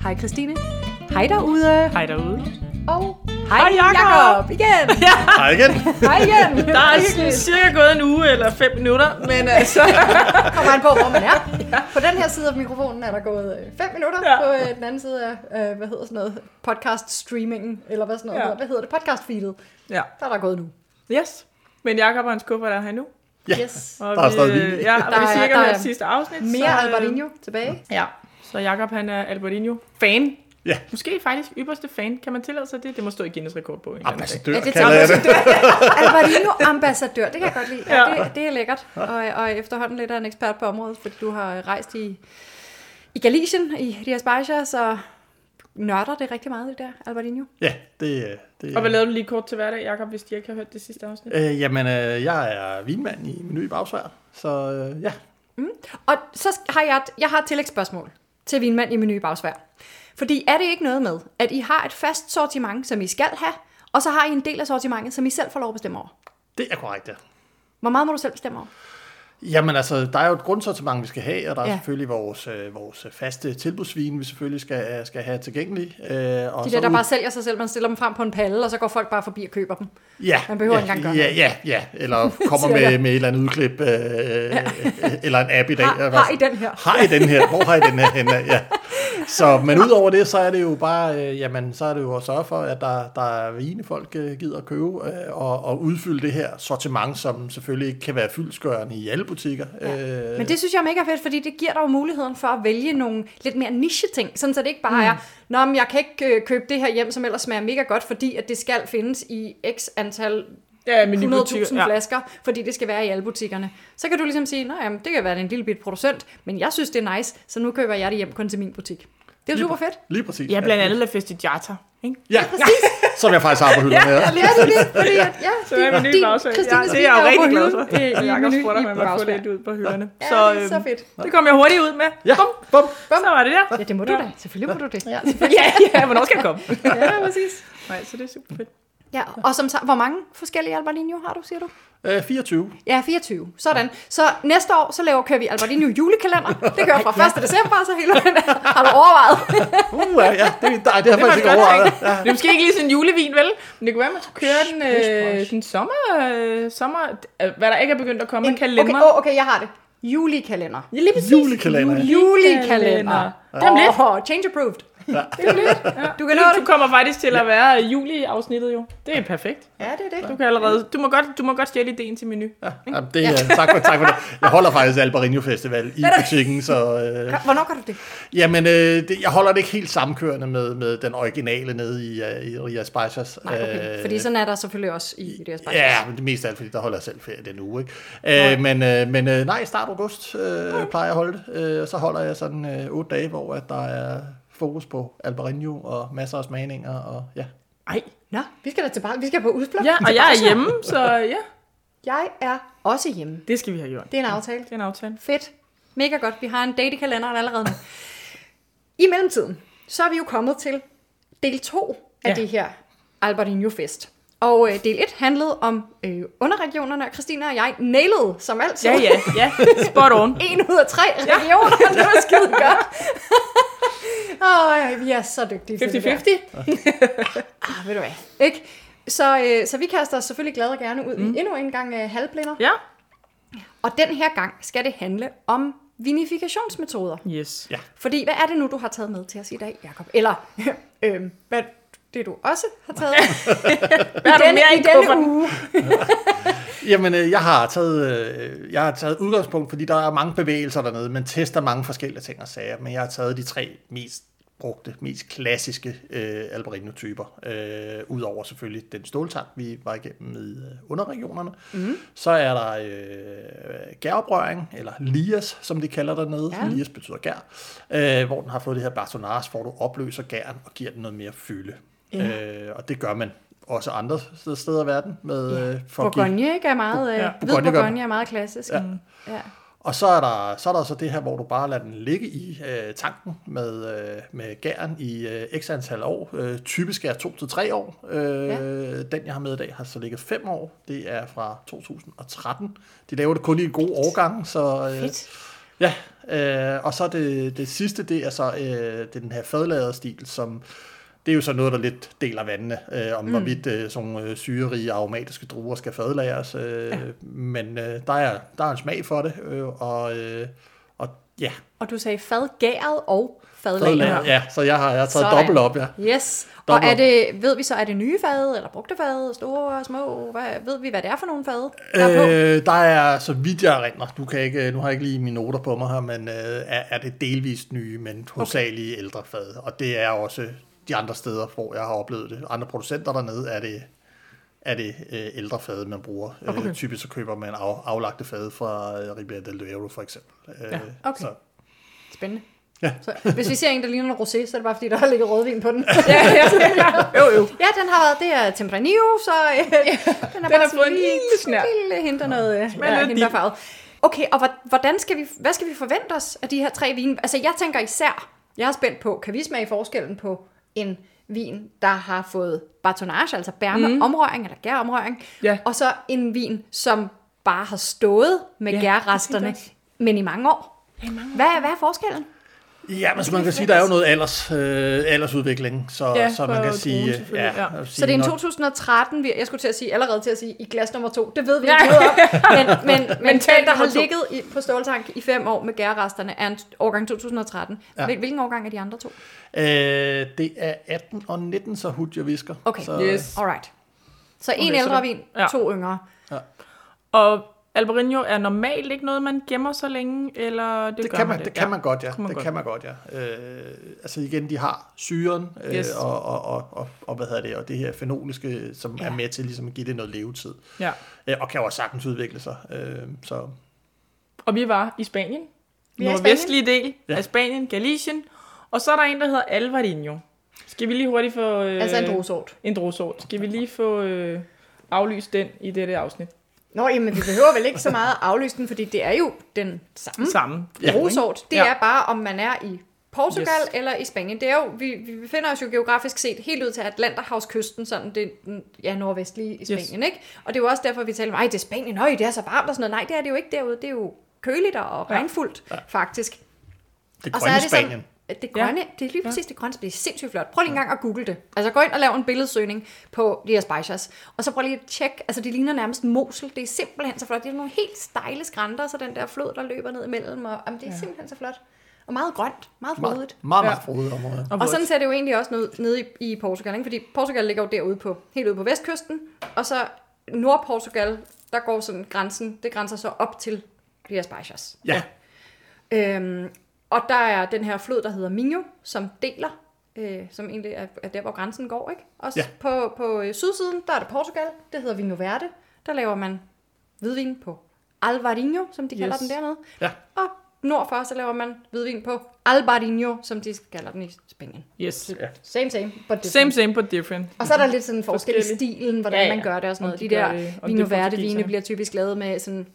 Hej Christine. Hej derude. Hej derude. Og Hej, Jakob. Jakob igen. Ja. Hej igen. Hej igen. Der er sådan cirka gået en uge eller fem minutter, men altså... kommer an på, hvor man er. På den her side af mikrofonen er der gået 5 minutter. Ja. Ja. På øh, den anden side af, øh, hvad hedder sådan noget, podcast streamingen, eller hvad sådan noget, Ja. hedder. hvad hedder det, podcast feedet, Ja, der er der gået nu. yes. Men Jakob og hans kuffer er her nu. Ja. Yes. Og Der er stadig øh, vin. Ja, og Der vi er- cirka der hørt er sidste afsnit. Mere så, øh, Albertinho tilbage. Ja, så Jakob han er Albertinho. Fan. Ja. Måske faktisk ypperste fan. Kan man tillade sig det? Det må stå i Guinness rekordbog. en eller anden dag. Ambassadør, Ja, det kalder jeg det. Albertino ambassadør, det kan jeg godt lide. Ja, Ja. Det, det er lækkert. Og, og efterhånden lidt af en ekspert på området, fordi du har rejst i, i Galicien, i Rias Baixas, så nørder det rigtig meget, det der Albertino. Ja, det, øh, det Og hvad lavede du lige kort til hverdag, Jakob, hvis de ikke har hørt det sidste afsnit? Øh, jamen, øh, jeg er vinmand i Meny i Bagsvær, så øh, ja. Og så sk- har jeg, et- jeg har et tillægsspørgsmål til vinmand i menu i bagsvær. Fordi er det ikke noget med, at I har et fast sortiment, som I skal have, og så har I en del af sortimentet, som I selv får lov at bestemme over? Det er korrekt, ja. Hvor meget må du selv bestemme over? Jamen altså, der er jo et grundsortiment, vi skal have, og der er Ja. ja. selvfølgelig vores, øh, vores faste tilbudsvin, vi selvfølgelig skal, skal have tilgængelig. Øh, og De så der, der ud- bare sælger sig selv, man stiller dem frem på en palle, og så går folk bare forbi og køber dem. Ja, Man behøver ja, ikke engang gøre ja, ja, ja, eller kommer Siger jeg. med, med et eller andet udklip, øh, ja. eller en app i dag. Har- eller har sådan. I den her? Har I den her? Hvor har I den her henne? Ja. Så, men udover det, så er det jo bare, øh, jamen, så er det jo at sørge for, at der, der er vine, folk øh, gider at købe, øh, og, og udfylde det her sortiment, som selvfølgelig ikke kan være fyldsgørende i alle butikker. Ja. Øh, Men det synes jeg er mega fedt, fordi det giver dig jo muligheden for at vælge nogle lidt mere niche-ting, sådan så det ikke bare mm. er, Nå, men jeg kan ikke øh, købe det her hjem, som ellers smager mega godt, fordi at det skal findes i x antal Ja, men i butikker, 100.000 flasker, fordi det skal være i alle butikkerne. Så kan du ligesom sige, nej, det kan være en lille bit producent, men jeg synes, det er nice, så nu køber jeg det hjem kun til min butik. Det er lige, super fedt. Lige præcis. Ja, blandt andet La Festigiata. Ikke? Ja, som jeg faktisk har på hylden her. Ja, det er det, fordi at, ja, Så er menu i bagsædet. Christines Ja, det er jeg jo rigtig glad for. Og Jakob spurgte, om i han måtte få bagsædet. lidt ud på hylderne. Ja, Så, det er så øhm, fedt. det kom jeg hurtigt ud med. Ja, Bum, bum. bum. Så var det der. Ja, det må du da. Selvfølgelig må du det. Ja, Ja, ja, hvornår skal jeg komme? ja præcis. Nej, så det er super fedt. Ja, og som, sa- hvor mange forskellige Albertinho har du, siger du? Øh, 24. Ja, 24. Sådan. Så næste år, så laver, kører vi Albertinho julekalender. Det kører fra 1. december, så hele den har du overvejet. Uh, ja, ja, det, nej, det har jeg var faktisk ikke godt overvejet. Ja. Det er måske ikke lige sådan en julevin, vel? Men det kunne være, man skulle køre den, øh, den sommer, øh, sommer, øh, hvad der ikke er begyndt at komme, en kalender. Okay, åh, okay, jeg har det. Julekalender. Ja, lige præcis. Julekalender. Julekalender. Det er om lidt. Åh, change approved. Det er om lidt. Ja. Du kan nå Du det. kommer faktisk til at være juli-afsnittet jo. Det er perfekt. Ja, det er det. Du kan allerede, du må godt, du må godt stjæle ideen til menu. Ja. Ja, det, ja. tak, for, tak for det. Jeg holder faktisk Albarino Festival i butikken, så... Øh, Hvornår gør du det? Jamen, øh, det, jeg holder det ikke helt samkørende med, med den originale nede i, øh, i Ria Spicers. Nej, okay. Fordi sådan er der selvfølgelig også i Ideas Bank. Ja, men det mest af alt, fordi der holder jeg selv ferie den uge. Ikke? Øh, men øh, men øh, nej, start august øh, plejer jeg at holde det. Øh, og så holder jeg sådan øh, otte dage, hvor at der er fokus på Albarino og masser af smagninger. Og, ja. Ej. Nå, vi skal da tilbage. Vi skal på udflugt. Ja, og jeg er hjemme, så ja. Jeg er også hjemme. Det skal vi have gjort. Det er en aftale. Det er en aftale. Fedt. Mega godt. Vi har en date i kalenderen allerede nu. I mellemtiden, så er vi jo kommet til del 2 af ja. Ja. det her Albertinho Fest. Og øh, del 1 handlede om øh, underregionerne, og Christina og jeg nailede, som altid, Ja, ja, ja. Spot on. en ud af tre regioner, ja. det var skide godt. Åh, oh, vi er så dygtige til det der. 50-50. Ah, ved du hvad? Ikke? Så, øh, så vi kaster os selvfølgelig glade og gerne ud mm. i endnu en gang øh, halvblinder. Ja. Og den her gang skal det handle om vinifikationsmetoder. Yes. Ja. Fordi hvad er det nu, du har taget med til os i dag, Jacob? Eller, øhm, hvad det du også har taget med Hvad er der i denne, mere i i denne kufferten? uge? Jamen, øh, jeg har, taget, øh, jeg har taget udgangspunkt, fordi der er mange bevægelser dernede. Man tester mange forskellige ting og sager, men jeg har taget de tre mest brugte, mest klassiske øh, Albarino-typer. Øh, Udover selvfølgelig den ståltank, vi var igennem i øh, underregionerne. Mm. Så er der øh, gæroprøring, eller lias, som de kalder dernede. Ja. Ja. Lias betyder gær. Øh, hvor den har fået det her bartonage, hvor du opløser gæren og giver den noget mere fylde. Ja. Øh, og det gør man også andre steder i verden. Med, ja. øh, for at give- Bourgogne ikke er meget, øh, Ja. hvid Bourgogne gør- Bourgogne er meget klassisk. Ja. Ja. Og så er, der, så er der så det her, hvor du bare lader den ligge i øh, tanken med, øh, med gæren i øh, x antal år. Øh, typisk er 2-3 år. Øh, Ja. ja. Den, jeg har med i dag, har så ligget 5 år. Det er fra 2013. De laver det kun i en god årgang, så øh, Fedt. Ja, øh, og så det, det sidste, det er så øh, det er den her fadladerede stil, som det er jo så noget, der lidt deler vandene, øh, om mm. hvorvidt øh, sådan nogle øh, syrerige aromatiske druer skal fadlageres. Øh, ja. Men øh, der, er, der er en smag for det, øh, og, øh, og ja, Og du sagde fadgæret og fadlager. fadlager. Ja, så jeg har, jeg har taget Sådan. dobbelt op, ja. Yes. Og Dobbelt er op. det, ved vi så, er det nye fade, eller brugte fade, store, små? Hvad, ved vi, hvad det er for nogle fade, der er på? Øh, der er, så vidt jeg erindrer, du kan ikke, øh, nu har jeg ikke lige mine noter på mig her, men øh, er, er det delvist nye, men hovedsageligt okay. ældre fad. Og det er også de andre steder, hvor jeg har oplevet det. Andre producenter dernede er det, er det øh, ældre fad, man bruger. Okay. Øh, typisk så køber man af, aflagte fad fra øh, Ribera del Duero for eksempel. Øh, ja. okay. Så, Spændende. Ja. Så, hvis vi ser en, der ligner en rosé, så er det bare, fordi der har ligget rødvin på den. ja, ja, ja. Jo, jo. Ja, den har været, det er Tempranillo, så øh, den har Den har bare fået en sådan lige, lille snert. sådan en lille hint af noget øh, Smager ja, lidt hindbærfarvet. Okay, og hvor- hvordan skal vi, hvad skal vi forvente os af de her tre vine? Altså, jeg tænker især, jeg er spændt på, kan vi smage forskellen på en vin, der har fået batonage, altså bær med mm. omrøring eller gæromrøring, Ja. og så en vin, som bare har stået med ja, Ja, gærresterne, det tænkte men i mange år. Ja, i mange år. Hvad, hvad er forskellen? ja, men så man kan sige, der er jo noget alders, øh, aldersudvikling, så, Ja, så man for kan druen sige... selvfølgelig, ja. jeg vil sige, Så det er en når- 2013, vi, jeg skulle til at sige, allerede til at sige, i glas nummer to. Det ved vi ikke noget om. Men, men, men den, Mentalt der har nummer to. ligget i, på ståltank i fem år med gærresterne, er en årgang 2013. Ja. Hvilken årgang er de andre to? Øh, det er 18 og 19, så hud jeg visker. Okay. Så, Yes. Alright. Så en Okay, så ældre der- vin, ja. to yngre. Og Albarino er normalt ikke noget, man gemmer så længe, eller det, det gør kan man man, det kan man godt, ja. man Det godt. kan man godt, ja. Øh, altså igen, de har syren øh, Yes. og, og, og, og, og hvad hedder det, og det her fenoliske, som ja. er med til ligesom at give det noget levetid. Ja. Øh, og kan jo også sagtens udvikle sig. Øh, så Og vi var i Spanien. Vi er i Nordvestlige del Ja. af Spanien, Galicien. Og så er der en, der hedder Alvarinho. Skal vi lige hurtigt få... Øh, Altså en druesort. En druesort. Skal vi lige få øh, aflyst den i dette afsnit? Nå, jamen vi behøver vel ikke så meget at aflyse den, fordi det er jo den samme Sammen. Ja. druesort. Det Ja. er bare, om man er i Portugal Yes. eller i Spanien. Det er jo, vi, vi befinder os jo geografisk set helt ud til Atlanterhavskysten, sådan det den- ja, nordvestlige i Spanien, yes. ikke? Og det er jo også derfor, vi taler om, ej, det er Spanien, nøj, det er så varmt og sådan noget. Nej, det er det jo ikke derude. Det er jo køligt og Ja. regnfuldt, ja. faktisk. det Og så grønne er det sådan- Spanien. Det grønne, ja. det er lige præcis det grønne, så bliver det sindssygt flot. Prøv lige en gang at google det. Altså gå ind og lav en billedsøgning på de her spejsers. Og så prøv lige at tjekke, altså det ligner nærmest Mosel. Det er simpelthen så flot. Det er nogle helt stejle skrænter, og så den der flod, der løber ned imellem. Og, jamen, det er ja. simpelthen så flot. Og meget grønt, meget Meget, frodigt. meget, meget Ja. frodigt område. Og sådan ser det jo egentlig også ned, nede i, i Portugal, ikke? fordi Portugal ligger jo derude på, helt ude på vestkysten, og så Nordportugal, der går sådan grænsen, det grænser så op til Rias Baixas. Ja. Øhm, og der er den her flod, der hedder Minho, som deler, øh, som egentlig er, er der, hvor grænsen går. ikke? Også Ja. ja. på, på øh, sydsiden, der er det Portugal, det hedder Vinho Verde. Der laver man hvidvin på Alvarinho, som de yes. kalder Yes. den dernede. Ja. Og nordfor, så laver man hvidvin på Albarinho, som de kalder den i Spanien. Yes. Same, same, but different. Same, same, but different. Og så er der lidt sådan forskel i Forskelligt. stilen, Mhm. hvordan Ja, ja, ja. ja. man gør det og sådan Om noget. de De, gør der det- om det vino er verde portugiserne. vine bliver typisk lavet med sådan en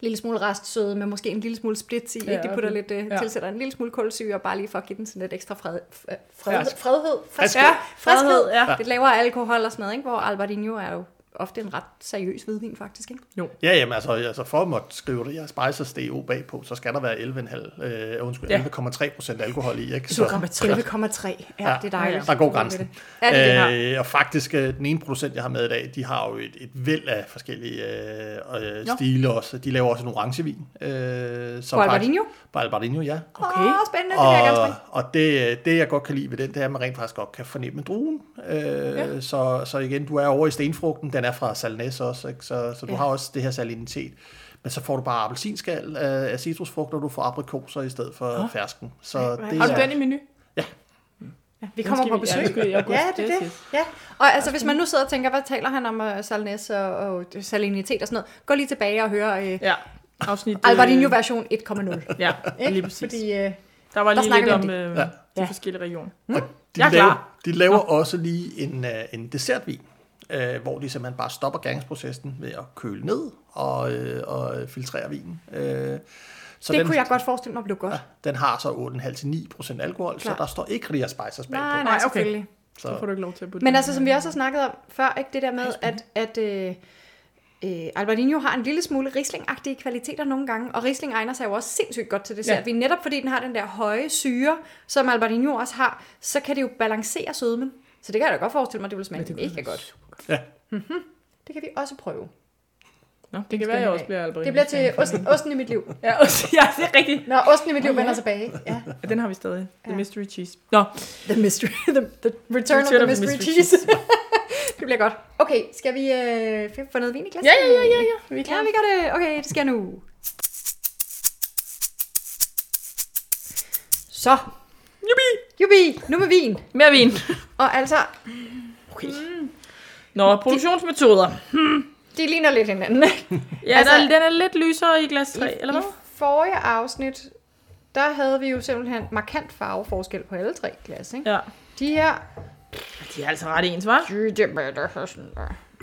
lille smule restsøde, med måske en lille smule splits i. Ja, Ja, de putter okay. lidt, øh, Ja. tilsætter en lille smule kulsyre, bare lige for at give den sådan lidt ekstra fred, f- øh, fred, Fersk. fredhed. Friskhed. Ja, friskhed. friskhed, ja. Lidt lavere alkohol og sådan noget, ikke? hvor Albertino er jo ofte en ret seriøs hvidvin faktisk. Ikke? Ja, jamen altså, altså for at måtte skrive det, jeg spejser DO bagpå, så skal der være 11,5, øh, undskyld, Ja. 11,3 procent alkohol i, ikke? 11,3. Ja, det er dejligt. Der går grænsen. Ja, det er det, den har. øh, og faktisk, øh, den ene producent, jeg har med i dag, de har jo et, et væld af forskellige øh, øh, Nå. stile også. De laver også en orangevin. Øh, som På faktisk- Alvarinho? På Alvarinho, ja. Okay. Åh, spændende, det vil jeg gerne Og, smage. og det, øh, det, jeg godt kan lide ved den, det er, at man rent faktisk godt kan fornemme druen. Øh, ja. så, så igen, du er over i stenfrugten. Den er fra Salnes også, ikke? Så, så du Ja. har også det her salinitet. Men så får du bare appelsinskal øh, af af citrusfrugter, og du får aprikoser i stedet for oh. fersken. Så det Har er, du den i menu? Vi kommer på besøg. Ja, Ja, det er det. Ja. Og altså, hvis man nu sidder og tænker, hvad taler han om uh, salnes og, og salinitet og sådan noget, gå lige tilbage og hør uh, Ja, afsnit... øh, Albertinho version 1.0. Ja, lige Ikke? præcis. Fordi, uh, Der var Der lige lidt snakker om vi om øh, Ja. de Ja. forskellige regioner. Og de, Jeg er laver, klar. de laver også lige en, øh, en dessertvin, øh, hvor de simpelthen bare stopper gæringsprocessen ved at køle ned og, øh, og filtrere vinen. Øh, så det den, kunne jeg godt forestille mig blev godt. den har så 8,5-9% alkohol, Klar. Klar. så der står ikke Ria Spicers bag Nej, på. nej, okay. selvfølgelig. Så får Så, du ikke lov til at putte Men den. altså, som vi også har snakket om før, ikke det der med, at, at øh, Øh, Albertinho har en lille smule rislingagtige kvaliteter nogle gange, og risling egner sig jo også sindssygt godt til dessert. Ja. Ja. Vi netop fordi den har den der høje syre, som Albertinho også har, så kan det jo balancere sødmen. Så det kan jeg da godt forestille mig, det vil smage det mega godt. Mhm. Ja. Det kan vi også prøve. Nå, det kan være, jeg også bliver alberini. Det bliver til osten, osten i mit liv. Ja, også, ja, det er rigtigt. Når osten i mit liv vender tilbage. Ja. Ja, den har vi stadig. The Ja. Mystery Cheese. Nå, The mystery, the, the return, of the mystery, cheese. det bliver godt. Okay, skal vi øh, få noget vin i glasset? Ja, ja, ja, ja, ja. Vi er Ja, klar. vi gør det. Okay, det sker nu. Så, Jubi! jubi, nu med vin. Mere vin. Og altså, Okay. Mm. Nå, produktionsmetoder. de ligner lidt hinanden. ikke? Ja, Altså- altså, der, den er lidt lysere i glas 3, eller hvad? I forrige afsnit, der havde vi jo simpelthen markant farveforskel på alle tre glas, ikke? Ja. De her... De er altså ret ens, hva'?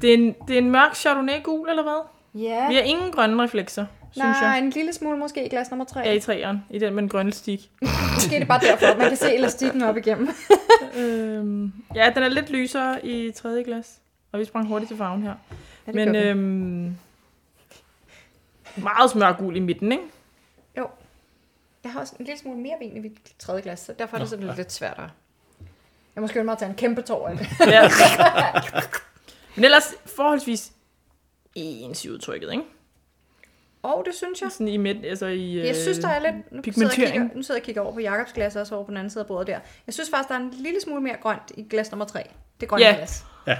Det er en, det er en mørk Chardonnay-gul, eller hvad? Ja, Vi har ingen grønne reflekser, synes nej, jeg. en lille smule måske i glas nummer tre. Ja, i træeren. I den med den grønne stik. Måske er det bare derfor, at man kan se elastikken op igennem. øhm, ja, den er lidt lysere i tredje glas. Og vi sprang hurtigt til farven her. Ja, det Men gør vi. øhm, meget smør gul i midten, ikke? Jo. Jeg har også en lille smule mere vin i mit tredje glas, så derfor er det sådan lidt sværere. Jeg må skynde mig at tage en kæmpe tår af det. Ja. Men ellers forholdsvis ens i udtrykket, ikke? Og det synes jeg. Sådan i midt, altså i... Jeg synes, der er lidt... Nu sidder, jeg og pigmentering. kigger, nu sidder jeg og kigger over på Jakobs glas, og også over på den anden side af bordet der. Jeg synes faktisk, der er en lille smule mere grønt i glas nummer tre. Det grønne Ja. glas. ja.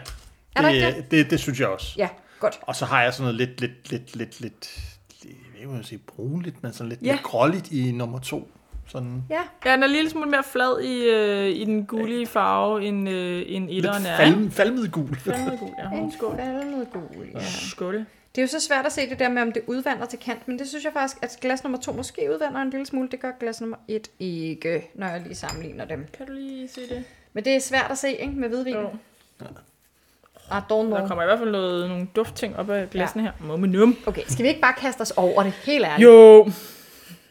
Er der ikke det, det, det synes jeg også. Ja, godt. Og så har jeg sådan noget lidt, lidt, lidt, lidt, lidt, jeg ved ikke, om jeg vil sige brunligt, men sådan lidt, Ja. lidt gråligt i nummer to. Sådan Ja, Ja, den er en lille smule mere flad i, øh, i den gulige farve, end, øh, end lidt etteren er. ikke? falm, falmet gul. Den er god, ja. en falmet gul. Ja. Skål. Det er jo så svært at se det der med, om det udvandrer til kant, men det synes jeg faktisk, at glas nummer to måske udvandrer en lille smule. Det gør glas nummer et ikke, når jeg lige sammenligner dem. Kan du lige se det? Men det er svært at se, ikke? Med hvidvin. Jo. Ah, don't Der know. kommer i hvert fald noget, nogle duftting op af glassene her. Mumme num. Okay, skal vi ikke bare kaste os over det? Helt ærligt. Jo.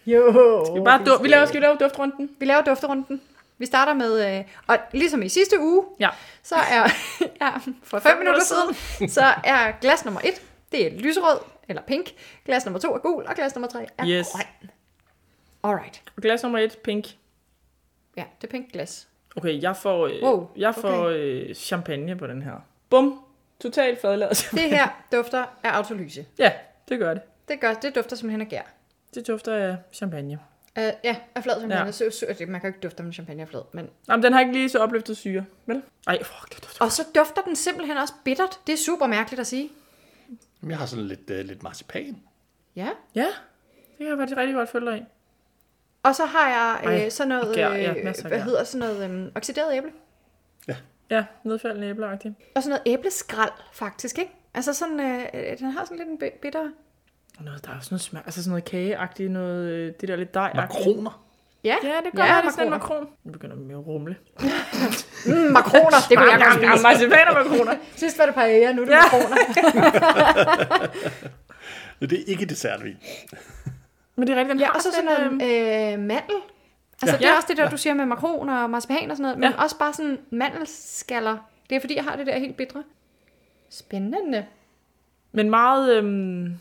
Jo. Vi, bare du- vi laver, skal vi lave duftrunden? Vi laver dufterunden. Vi starter med, øh, og ligesom i sidste uge, Ja. så er, ja, for fem minutter siden, så er glas nummer et, det er lyserød, eller pink. Glas nummer to er gul, og glas nummer tre er Yes. grøn. Alright. Og Glas nummer et, pink. Ja, det er pink glas. Okay, jeg får, øh, Wow, jeg får øh, champagne på den her. Bum. Totalt fadladet Det her dufter af autolyse. Ja, det gør det. Det, gør, det dufter simpelthen af gær. Det dufter af champagne. Uh, ja, af flad champagne. Ja. Så, så, det- man kan jo ikke dufte med champagne af flad. Men... Jamen, den har ikke lige så opløftet syre, vel? Ej, fuck, det dufter. Og så dufter den simpelthen også bittert. Det er super mærkeligt at sige. Jeg har sådan lidt, uh, lidt marcipan. Ja. Ja, det kan jeg faktisk rigtig godt følge dig i. Og så har jeg øh, Ej, sådan noget, gær, ja, øh, masser af hvad gær. hedder sådan noget, øh, oxideret æble. Ja, nedfaldende æbleagtigt. Og sådan noget æbleskrald, faktisk, ikke? Altså sådan, øh, øh, den har sådan lidt en bi- bitter... Og noget, der er også noget smag, altså sådan noget kageagtigt, noget, øh, det der lidt dej Makroner. Ja, Ja, det kan Ja, godt være, det er sådan en makroner. makron. Nu begynder vi med at rumle. mm, makroner, det kunne jeg godt Ja, spise. marcipan og makroner. Sidst var det paella, nu er det Ja. makroner. Det er ikke dessertvin. Men det er rigtigt, den Ja, har og så sådan den, noget øhm, øh, mandel. Altså, Ja. det er Ja. også det der, du siger med makroner og marcipan og sådan noget, men Ja. også bare sådan mandelskaller. Det er fordi, jeg har det der helt bitre. Spændende. Men meget... Øhm,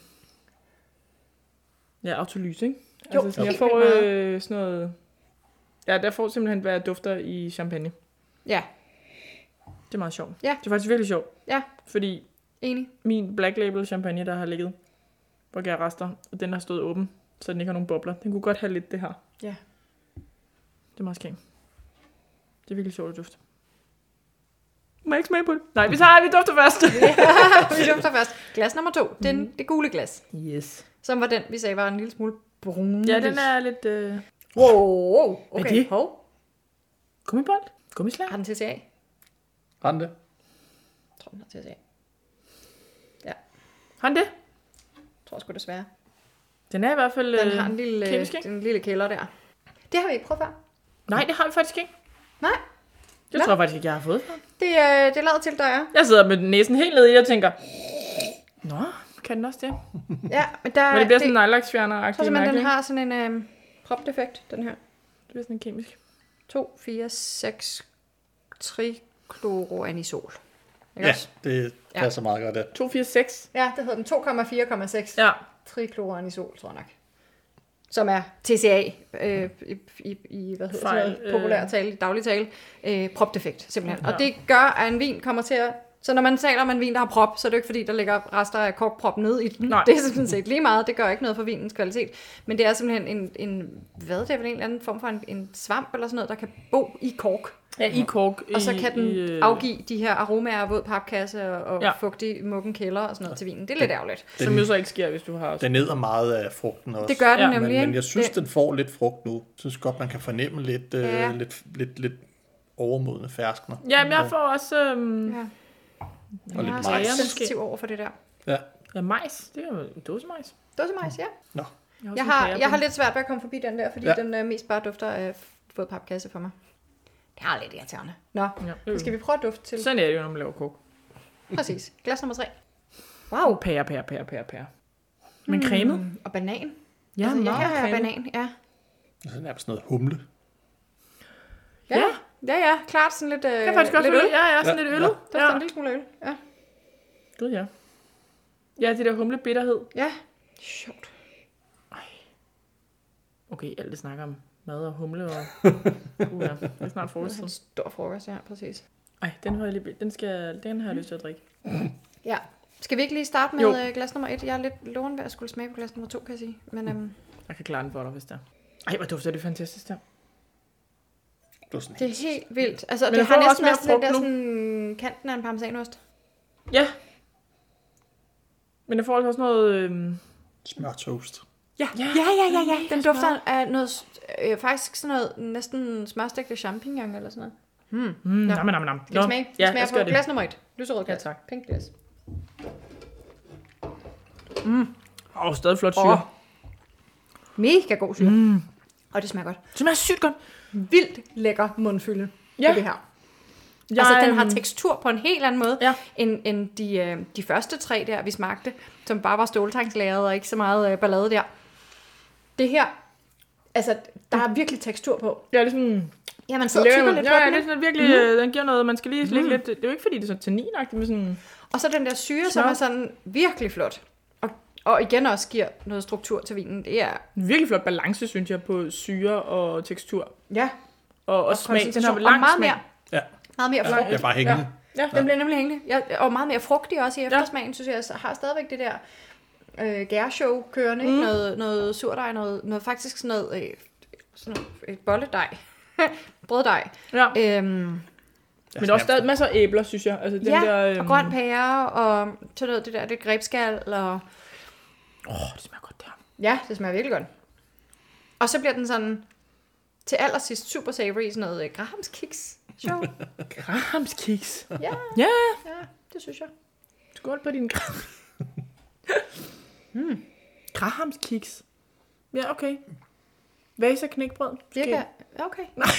ja, autolyse, ikke? Jo, altså, sådan, helt jeg får vildt øh, sådan noget... Ja, der får simpelthen, hvad jeg dufter i champagne. Ja, Det er meget sjovt. Ja. Det er faktisk virkelig sjovt. Ja. Fordi enig. min Black Label champagne, der har ligget, hvor jeg rester, og den har stået åben, så den ikke har nogen bobler. Den kunne godt have lidt det her. Ja. Det er meget skæmt. Det er virkelig sjovt at dufte. Må jeg ikke smage på det? Nej, vi tager, vi dufter først. Vi dufter først. Glas nummer to, den, Mhm. det gule glas, Yes. som var den, vi sagde var en lille smule brun. Ja, den er lidt... Øh... Wow, okay. Hvad er det? Hov, Gummibold? Gummislag? har den til at se af? Rente. Jeg tror, den har til at se af. Har den det? Jeg tror sgu desværre. Den er i hvert fald... Den øh, har en lille, kemisk, ikke? den lille kælder der. Det har vi ikke prøvet før. Nej, det har vi faktisk ikke. Nej. Det Nå. tror jeg faktisk ikke, jeg har fået. Det, øh, det er lavet til, der er. Jeg sidder med næsen helt nede i det og tænker... Nå, kan den også det? Ja, men der, Men det bliver det, sådan en nejlaksfjerner jeg tror agtig simpelthen, mærke, den ikke? har sådan en øh, propdefekt, den her. Det bliver sådan en kemisk. 2, 4, 6 trichloroanisol. Ikke Ja, også? det Ja. passer meget godt. Der. 246. ja, det hedder den 2,4,6 ja. Ja. trikloranisol, tror jeg nok. Som er TCA, øh, i, i, i hvad hedder Fejl, Fejl, sådan noget, populær øh. tale, i daglig tale, øh, propdefekt simpelthen. Ja. Og det gør, at en vin kommer til at... Så når man taler om en vin, der har prop, så er det jo ikke fordi, der ligger rester af korkprop ned i den. Nej. Det er sådan set lige meget. Det gør ikke noget for vinens kvalitet. Men det er simpelthen en, en hvad det er vel en eller anden form for en, en svamp eller sådan noget, der kan bo i kork. Ja, i kork. Og så kan i, den i, øh, afgive de her aromaer af våd papkasse og, og Ja. ja. fugtig mukken kælder og sådan noget til vinen. Det er lidt ærgerligt. Som jo så ikke sker, hvis du har... Den æder meget af frugten også. Det gør den Ja, ja, men- nemlig, men, men ikke? jeg synes, det, den får lidt frugt nu. Jeg synes godt, man kan fornemme lidt, Ja. øh, lidt, lidt, lidt overmodende ferskner. Jamen, jeg får også... Øhm, Ja. Og Jeg lidt er majs. så sensitiv over for det der. Ja. Ja, majs. Det er jo en dåse majs. Dåsemajs, ja. Nå. også Jeg en har, pære jeg på. har lidt svært ved at komme forbi den der, fordi Ja. ja. den øh, mest bare dufter af våd papkasse for mig. Det er lidt irriterende. Nå, Ja, øh. skal vi prøve at dufte til? Sådan er det jo, når man laver kok. Præcis. Glas nummer tre. Wow. Pære, pære, pære, pære, pære. Men cremet? Og banan. Mm. Ja, altså, jeg meget kan have cremet. banan, ja. Det er nærmest noget humle. Ja, Ja. ja, ja, ja. klart sådan lidt, øh, Jeg kan faktisk godt lidt føle, øl. ja, jeg er sådan Ja, lidt øllet. Der Ja. er en lille smule øl. Ja. Gud, ja. Ja, det der humlebitterhed. ja. Sjovt. Okay, alt det snakker om mad og humle og... Uh, ja. Det er snart Det er en forårstid. stor frokost, ja, præcis. Ej, den har jeg lige... Den, skal, den har jeg lyst til at drikke. Ja. Skal vi ikke lige starte med Jo. øh, glas nummer et? Jeg er lidt loven ved at skulle smage på glas nummer to, kan jeg sige. Men øhm, Jeg kan klare den for dig, hvis der. Ej, hvor dufter det fantastisk der. Det er sådan det er helt vildt. Altså, Men det jeg har får også næsten mere også lidt frugt der nu. sådan kanten af en parmesanost. Ja. Men jeg får altså også noget... Øhm, smørtoast. Ja, ja, ja, ja, ja. Den dufter af noget, s- øh, faktisk sådan noget, næsten smørstægte champignon eller sådan noget. mm, nam, nam, nam. Skal vi smage? Ja, Ja, lad smager os gøre på det. glas nummer et. Lyserød glas. Ja, tak. Pink glas. Åh, oh, stadig flot syre. Åh. Mega god syre. Mm. Og det smager godt. Det smager sygt godt. Vildt lækker mundfylde ja. Ja. på det her. Jeg, Jeg, altså, den har øhm, tekstur på en helt anden måde, Ja. ja. end, end de, øh, de første tre der, vi smagte, som bare var ståltankslagret og ikke så meget øh, ballade der. Det her, altså, der er virkelig tekstur på. Ja, det er sådan... Ja, man Så sidder og tykker lidt ja, på ja, den, det er ikke? sådan virkelig... Mm. Den giver noget, man skal lige slikke mm. lidt. Det er jo ikke, fordi det er så tanninagtigt, men sådan... Og så den der syre, som Nå. er sådan virkelig flot. Og, og igen også giver noget struktur til vinen. Det er, En virkelig flot balance, synes jeg, på syre og tekstur. ja, Og, og smag. Den har koncentration. vel Og lang meget smag. mere, Ja, meget mere frugt. ja det er bare hængende. Ja. Den bliver nemlig hængende. Jeg, og meget mere frugtig også i eftersmagen, ja. synes jeg. Jeg har stadigvæk det der øh, gærshow kørende. Mm. Noget, noget surdej, noget, noget faktisk sådan noget, øh, sådan noget et bolledej. Brøddej. ja. Øhm, Ja, Men der er også stadig masser af æbler, synes jeg. Altså, den ja, der, og grøn pære, og sådan noget, det der det grebskal, og øhm, Åh, det smager godt, det her. ja, det smager virkelig godt. Og så bliver den sådan til allersidst super savory, i sådan noget øh, grahamskiks. Sjov. Kramskiks. Ja, Ja. ja, det synes jeg. Skål på din gram. mm. Grahamskiks. Hmm. Ja, okay. Vasa knækbrød. Birka, okay.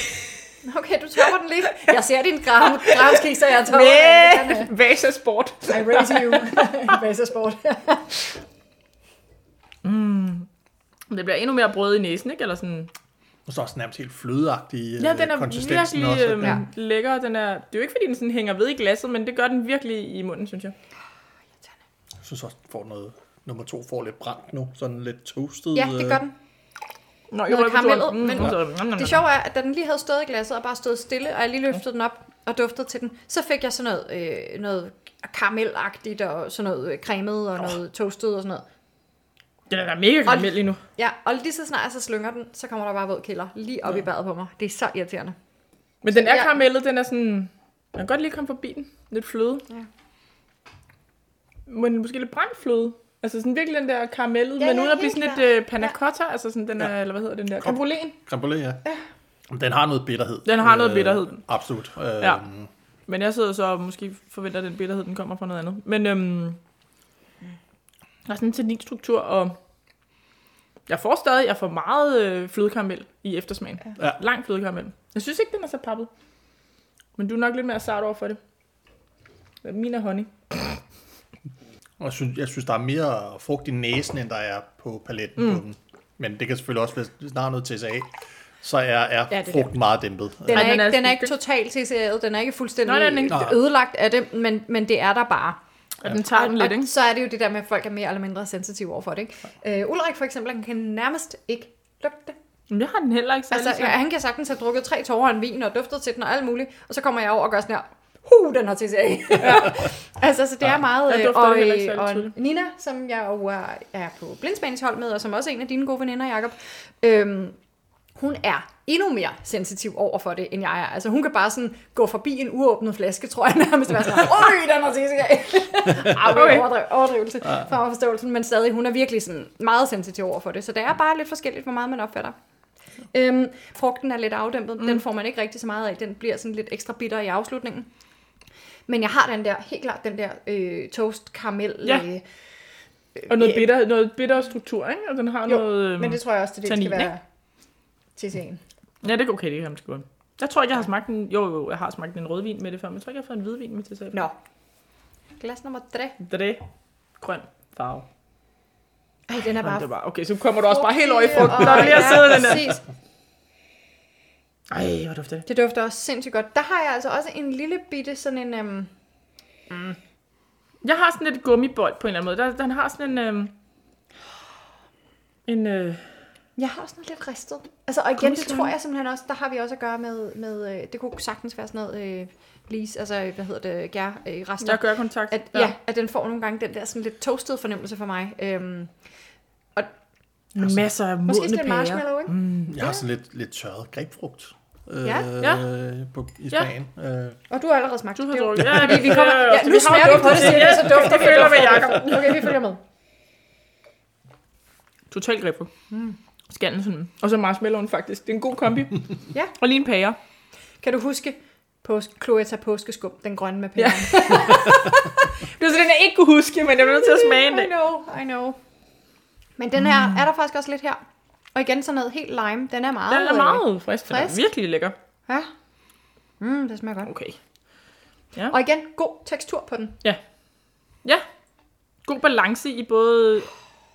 Okay, du topper den lige. Jeg ser din gram, gramskiks, så jeg topper den. Det kan, Okay. Vasa sport. øh, I raise you. Vasersport. Men Det bliver endnu mere brød i næsen, ikke? Eller sådan. Og så også nærmest helt flødeagtig øh, Ja, den er konsistensen virkelig også. øhm, ja. ja. lækker. Den er, det er jo ikke, fordi den sådan hænger ved i glasset, men det gør den virkelig i munden, synes jeg. Jeg synes også, den får noget... Nummer to får lidt brændt nu, sådan lidt toastet. ja, det gør øh, den. Nå, Noget karamellet, men- men... Det Mm. sjove er, at da den lige havde stået i glasset og bare stået stille, og jeg lige løftede den op og duftede til den, så fik jeg sådan noget, øh, noget karamelagtigt og sådan noget øh, cremet og noget toastet og sådan noget. Den er da mega karamel lige nu. Ja, og lige så snart jeg så slynger den, så kommer der bare våd kilder lige op ja. i badet på mig. Det er så irriterende. Men den er Ja. karamellet, den er sådan... Jeg kan godt lige komme forbi den. Lidt fløde. Ja. Men måske lidt brændt fløde. Altså sådan virkelig den der karamellet, ja, Ja, men ja, uden at blive helt sådan lidt klart. øh, panna cotta, altså sådan den er, eller hvad hedder den der, Kom. cabriolet. Creme brulee, ja. Men Den har noget bitterhed. Den har noget bitterhed. Absolut. Øh, Ja. Men jeg sidder så og måske forventer, at den bitterhed, den kommer fra noget andet. Men øhm, der er sådan en tanninstruktur, og jeg får stadig, jeg får meget øh, flødekaramel i eftersmagen. Ja. Lang flødekaramel. Jeg synes ikke, den er så pappet. Men du er nok lidt mere sart over for det. Min er honning. Og jeg synes, jeg synes, der er mere frugt i næsen, end der er på paletten mm. på den. Men det kan selvfølgelig også være snart noget til sig af. så er, er Ja, ja, det er frugt meget dæmpet. Den, Ej, er, den ikke, er den altså, er sgu ikke ikke- totalt CCA'et, den er ikke fuldstændig Nå, den er ikke. Nej. ødelagt af det, men, men det er der bare. Og den tager den lidt, og ikke? så er det jo det der med, at folk er mere eller mindre sensitive overfor det. Ikke? Øh, Ulrik for eksempel, han kan nærmest ikke lugte. Men jeg har den heller ikke særlig. Altså, ja, Altså, han kan sagtens have drukket tre tårer af en vin og duftet til den og alt muligt, og så kommer jeg over og gør sådan her, huh, den har TCA. Ja. altså, så det er meget... Jeg øh, dufter og, det heller ikke øh, særlig og tydeligt. Nina, som jeg jo er, er på blindspaningshold med, og som også er en af dine gode veninder, Jacob, øhm, hun er endnu mere sensitiv over for det, end jeg er. Altså, hun kan bare sådan gå forbi en uåbnet flaske, tror jeg nærmest, og være sådan, øj, den har TCA. Ej, okay. overdriv, overdrivelse Ah. for forståelsen, men stadig, hun er virkelig sådan meget sensitiv over for det, så det er bare lidt forskelligt, hvor meget man opfatter. Øhm, frugten er lidt afdæmpet, mm. den får man ikke rigtig så meget af, den bliver sådan lidt ekstra bitter i afslutningen. Men jeg har den der, helt klart den der øh, toast karamel. Ja. Øh, og noget bitter, noget bitter struktur, ikke? Og den har jo, noget... øhm, men det tror jeg også, det, er det tannin, skal være TC'en. Ja, det er okay, det kan man sgu godt. Jeg tror ikke, jeg har smagt en... Jo, jo, jeg har smagt en rødvin med det før, men jeg tror ikke, jeg har fået en hvidvin med til selv. Nå. Glas nummer 3. Det grøn farve. Ej, den er Jamen, det bare... var, okay, så kommer du også bare helt over i frugten, frugtig, og og- lige har ja, siddet den der. præcis. Ej, hvor dufter det. Det dufter også sindssygt godt. Der har jeg altså også en lille bitte sådan en... Øhm, Jeg har sådan lidt gummibold på en eller anden måde. Der, den har sådan en... Øhm, en øh, jeg har også noget lidt ristet. Altså, og igen, det Gummislange. tror jeg simpelthen også, der har vi også at gøre med... med øh, det kunne sagtens være sådan noget... Øh, lease, altså, hvad hedder det? Gær, øh, rester. der gør kontakt. At, ja. ja, at den får nogle gange den der sådan lidt toasted fornemmelse for mig. Øhm, Masser af modne måske sådan lidt pærer. marshmallow, ikke? Mm. Øh, Jeg har sådan lidt, lidt tørret grebfrugt. Øh, Ja, ja. På, Ja. I Spanien. Øh, Og du har allerede smagt Du har det. er jo- drukket. Ja, vi, Vi kommer, ja, nu smager vi på det, siger det, så dufter vi. føler vi, dufter Jacob. vi. Okay, vi følger med. Total gribbo. Mm. Skallen sådan. Og så marshmallowen faktisk. Det er en god kombi. Ja. Og lige en pære. Kan du huske påske, Cloetta påskeskum, den grønne med pæren? Ja. Det var sådan, den jeg ikke kunne huske, men jeg blev nødt til at smage en I dag. know, I know. Men den her, Mm. er der faktisk også lidt her. Og igen sådan noget helt lime. Den er meget... Den er øh, meget frisk. Den er frisk. virkelig lækker. Ja. Mm, det smager godt. Okay. Og igen, god tekstur på den. Ja. God balance i både...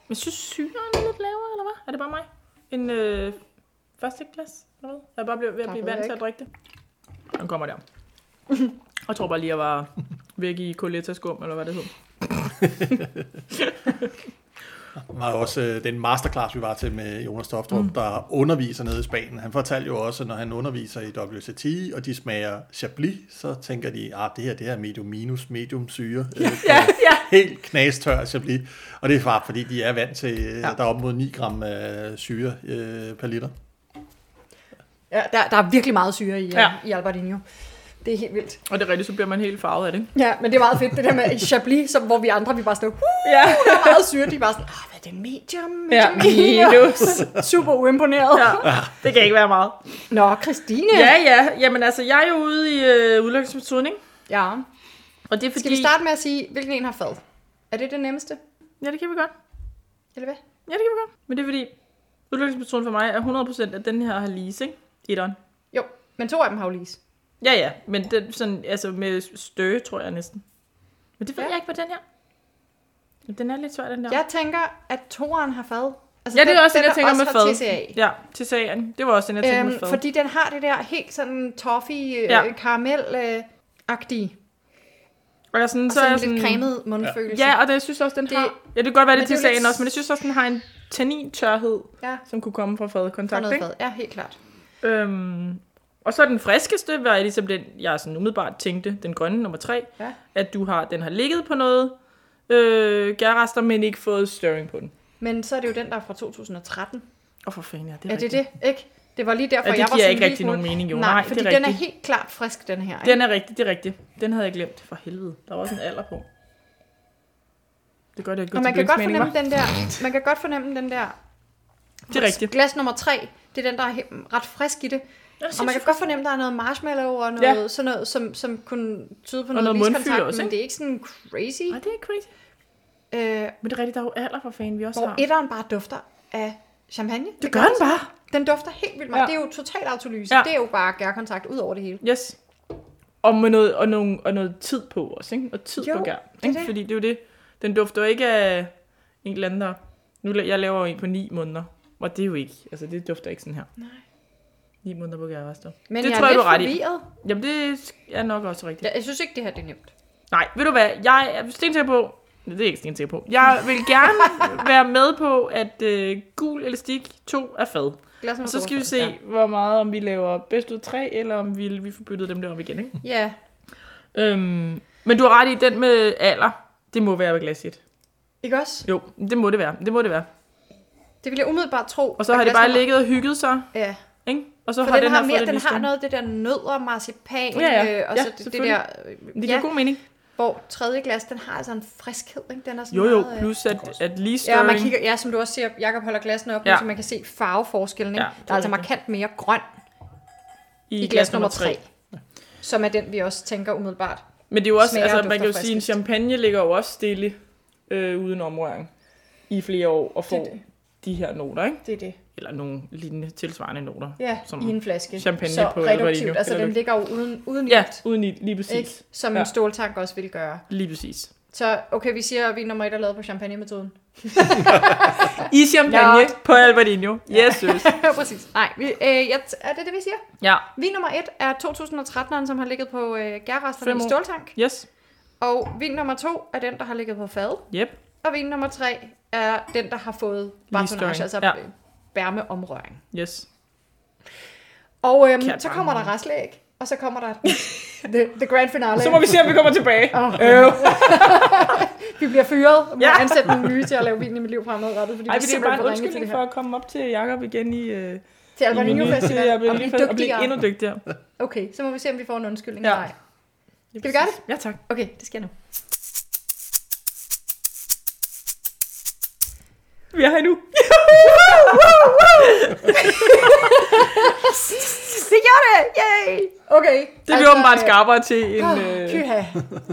Men synes syren er lidt lavere, eller hvad? Er det bare mig? En øh, første glas? Eller hvad? Jeg er bare blevet, ved at Der blive ved vant jeg til at drikke ikke. det. Den kommer der. Jeg tror bare lige, jeg var væk i Coletta skum, eller hvad det hed. var jo også øh, den masterclass, vi var til med Jonas Toftrup, mm. der underviser nede i Spanien. Han fortalte jo også, når han underviser i WCT, og de smager Chablis, så tænker de, at det her det her er medium minus, medium syre. Ja, øh, ja, ja. Helt knastør Chablis. Og det er bare, fordi de er vant til, ja. der er op mod 9 gram øh, syre øh, per liter. Ja, der, der er virkelig meget syre i, Ja. ja. i Albertinho. Det er helt vildt. Og det er rigtigt, så bliver man helt farvet af det. Ja, men det er meget fedt, det der med i Chablis, som, hvor vi andre, vi bare sådan, uh, Ja. der er meget syre, de er bare sådan, ah, hvad er det, medium? Ja, medium, minus. Super uimponeret. Ja. Ja, det kan ikke være meget. Nå, Christine. Ja, ja. Jamen altså, jeg er jo ude i øh, udelukkelsesmetoden, ikke? ja. Og det er fordi... Skal vi starte med at sige, hvilken en har fad? Er det det nemmeste? Ja, det kan vi godt. Eller hvad? Ja, det kan vi godt. Men det er fordi, udelukkelsesmetoden for mig er 100% at den her har lease, ikke? Etteren. Jo, men to af dem har jo lis. Ja, ja, men den sådan, altså med støge, tror jeg næsten. Men det ved Ja. ja. jeg ikke, på den her. Men Den er lidt svær, den der. Jeg tænker, at toeren har fad. Altså, ja det er også den, jeg der tænker også med har fad. TCA. Ja, til sagen. Det var også den, jeg tænkte øhm, med Øhm, fad. fordi den har det der helt sådan toffee, øh, Ja. ja. karamel-agtige, og jeg sådan, og så er sådan jeg lidt sådan, sådan... cremet mundfølelse. Ja, og det, jeg synes også, den Det- det, har... Ja, det kan godt være, det er men det til er jo lidt sagen også, men jeg synes også, den har en tannintørhed, ja som kunne komme fra der er fadkontakt, noget ikke? fad. Ja, helt klart. Øhm, og så den friskeste var ligesom den, jeg sådan umiddelbart tænkte, den grønne nummer tre, Ja. at du har, den har ligget på noget øh, gærrester, men ikke fået stirring på den. Men så er det jo den, der er fra 2013. Og for fanden, ja, det er, Er rigtigt. det det? Ikke? Det var lige derfor, Ja, det jeg var giver sådan ikke en rigtig lille smule- nogen mening, jo. Nej, Nej, det er fordi den er rigtigt. helt klart frisk, den her. Ikke? Den er rigtig, det er rigtigt. Den havde jeg glemt. For helvede. Der var også en alder på. Det gør det, jeg og man kan godt fornemme den der, man kan godt fornemme den der Det er rigtigt. glas nummer tre, det er den, der er he- ret frisk i det. Og man kan godt fornemme, der er noget marshmallow og noget, Ja. ja. sådan noget som, som kunne tyde på Og noget, noget mundfylde iskontakt, også, men ikke? det er ikke sådan crazy. Nej, det er ikke crazy. Øh, Men det er rigtigt, der er jo alder for fanden, vi også hvor har. etteren bare dufter af champagne. Det, Det gør den bare. Den dufter helt vildt meget. Ja. Ja. Det er jo total autolyse. Ja. Ja. Det er jo bare gærkontakt ud over det hele. Yes. Og med noget, og nogle, og noget tid på også, ikke? Og tid Jo, på gær. er Ikke? det. Fordi det er jo det. Den dufter jo ikke af en eller anden, der... Nu, la- jeg laver jo en på ni måneder. Og det er jo ikke... Altså, det dufter ikke sådan her. Nej. Ni måneder på Gervastor. Men det jeg tror er jeg, lidt du har ret i. forvirret. Jamen, det er nok også rigtigt. Jeg, jeg synes ikke, det her det er nemt. Nej, ved du hvad? Jeg er stensikker på... Nej, Det er jeg ikke stensikker på. Jeg vil gerne være med på, at øh, gul elastik 2 er fad. Lad os nu Og så gå skal vi for se, det. ja. hvor meget om vi laver bedst ud af 3, eller om vi, vi får byttet dem der om igen. Ikke? Ja. Øhm, men du har ret i, den med alder, det må være glasset. Ikke også? Jo, det må det være. Det må det være. Det vil jeg umiddelbart tro. Og så har at det bare glasnummer- ligget og hygget sig. Ja. Ikke? Og så For har den, den har her mere, fået den lidt har stemme. noget af det der nødder, marcipan, Ja, ja. øh, og Ja, så det, det selvfølgelig. der, øh, Det giver ja, god mening. hvor tredje glas, den har altså en friskhed, ikke? Den er sådan Jo, jo, meget, øh, plus at, at lige Ja, og man stirring- kigger, ja, som du også siger, Jakob holder glassene op, Ja. ja. så man kan se farveforskellen. Ikke? Ja, Ja, det der er er altså rigtigt. markant mere grøn i, i glas nummer 3, som er den, vi også tænker umiddelbart. Men det er jo også, smager og altså, man dufter kan jo sige, at en friskest. champagne ligger jo også stille øh, uden omrøring i flere år og får Det er det. de her noter, ikke? Det er det. Eller nogle lignende tilsvarende noter. Ja, Som i en flaske. champagne så på Alvariño, reduktivt, altså eller den ligger jo uden, uden ja ilt, uden i, lige ikke? præcis. som Ja. en ståltank også ville gøre. Lige præcis. Så okay, vi siger, at vi nummer et er lavet på champagne-metoden. I champagne Nå. på Albertino. Yes, søs. Præcis. Nej, vi, øh, jeg, t- er det det, vi siger? Ja, Vin nummer et er 2013'eren, som har ligget på øh, Fem gærresterne i år. ståltank. yes, Og vin nummer to er den, der har ligget på fad. yep. Og vin nummer tre er den, der har fået bartonage, støring, altså ja. ja. bærmeomrøring. Yes. Og øhm, Kært så barn. kommer der restlæg, og så kommer der the, the grand finale. Så må vi se, om vi kommer tilbage. Åh. Øh. vi bliver fyret og må Ja. ja. ansætte nogle nye til at lave vin i mit liv fremadrettet, fordi Ej, vi men det er bare en simpelthen for ringe til det undskyldning for her. at komme op til Jakob igen i... Øh, i Til Albanino menuen. Festival Til Albanino og blive Festival, og blive dygtigere. endnu dygtigere. Okay, så må vi se, om vi får en undskyldning. Ja. Ja. Nej. Skal vi gøre det? Ja, tak. Okay, det sker nu. Vi er her nu. Vi gjorde det! Yay! Okay. altså, Det er vi åbenbart skarpere til end, øh, Kyha.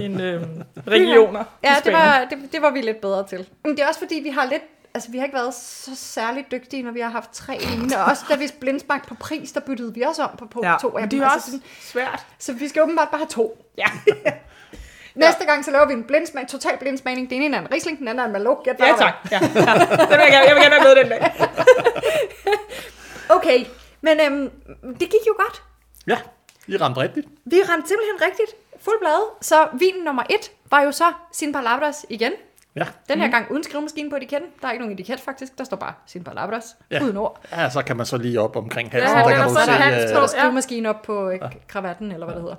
end øh, regioner. i Ja, det Spanien. var, det, det var vi lidt bedre til. Men det er også fordi, vi har lidt... Altså, vi har ikke været så særligt dygtige, når vi har haft tre lignende. Og også da vi blindsmagte på pris, der byttede vi også om på, på ja. to af men dem. Det er Altså også sådan- svært. så vi skal åbenbart bare have to. Ja. Næste gang, så laver vi en blindsmag, total blindsmagning. Den ene er en Riesling, den anden er en Malot. Gæt, hvad Ja, der tak. Ja. ja. Den vil jeg, gerne, jeg vil gerne være med den dag. var. Okay, men øhm, det gik jo godt. Ja, I ramte rigtigt. Vi ramte simpelthen rigtigt. Fuld blade. Så vin nummer et var jo så Sin Palabras igen. Ja, Den Mm. her gang uden skrivemaskine på etiketten. Der er ikke nogen etiket faktisk. Der står bare Sin Palabras. Ja. Ja. Uden ord. ja så kan man så lige op omkring halsen. Ja, der der kan er du så en hals se, på. øh, Står skrivemaskinen op på øh, kravatten, eller hvad det hedder.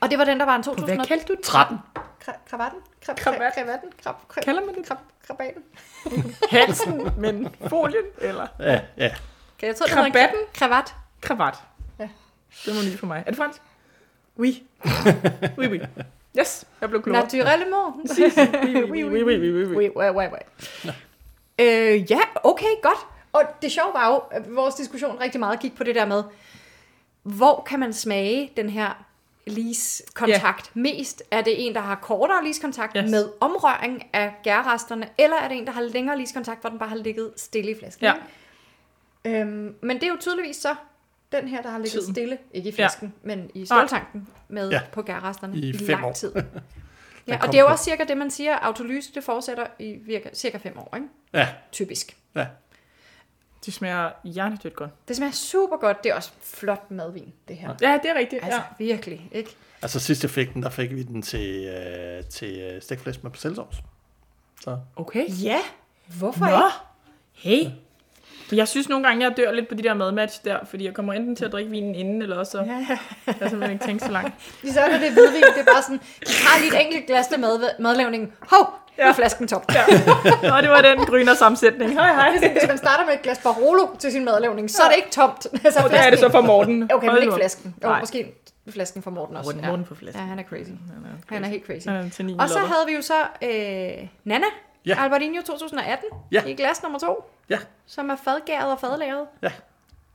Og det var den, der var en 2000... kaldte du 13. Kra- Kravatten? Kra- Kravat. kra- Kravatten? Krab- kra- Kalder man det? krab- Krabaten? Halsen, men folien eller Ja, ja. Kan jeg tro, det hedder en Krabatten? kra- Kravat. kravat. Ja. Det var nyt for mig. Er det fransk? Oui. Oui, oui. Yes, jeg blev klogere. Naturellement. Oui, oui, oui, oui, oui, oui, oui. Oui, oui, oui, oui. Øh, ja, okay, godt. Og det sjove var jo, at vores diskussion rigtig meget gik på det der med, hvor kan man smage den her lease-kontakt yeah. mest? Er det en, der har kortere lease-kontakt Yes. yes. med omrøring af gærresterne, eller er det en, der har længere lease-kontakt, hvor den bare har ligget stille i flasken? Ja. ikke? Øhm, men det er jo tydeligvis så den her, der har ligget Tiden. stille, ikke i flasken, ja. men i ståltanken med Ja. ja. på gærresterne I i, i fem lang år. tid. Den Ja, kom og det er jo på. også cirka det, man siger, at autolyse det fortsætter i virka, cirka 5 år, ikke? Ja, typisk. ja. De smager hjernedødt godt. Det smager super godt. Det er også flot madvin, det her. Ja, det er rigtigt. Altså, Ja. ja. virkelig, ikke? Altså sidst jeg fik den, der fik vi den til, øh, til øh, stegflæs med persillesovs. Så Okay. Ja, hvorfor Nå, ikke? hey. Men Jeg synes nogle gange, jeg dør lidt på de der madmatch der, fordi jeg kommer enten til at drikke vinen inden, eller også så Ja, ja. jeg simpelthen ikke tænkt så langt. Vi så det er hvidvin, det er bare sådan, vi har lige et enkelt glas til mad, madlavningen. Hov, nu Ja. er flasken tom. Ja. Nå, det var den gryner sammensætning. Hej, hej. Ligesom, hvis man starter med et glas Barolo til sin madlavning, så er det ikke tomt. Altså, Og der er det så for Morten. Okay, men Hold nu ikke op. flasken. Jo, Nej. måske flasken for Morten også. Morten, Morten på flasken. Ja, han er crazy. Han er Han er helt crazy. Han er en ternin Og så lopper. havde vi jo så øh, Nana, Ja. ja. Albertino 2018, Ja. i glas nummer to, Ja. som er fadgæret og fadlaget. Ja.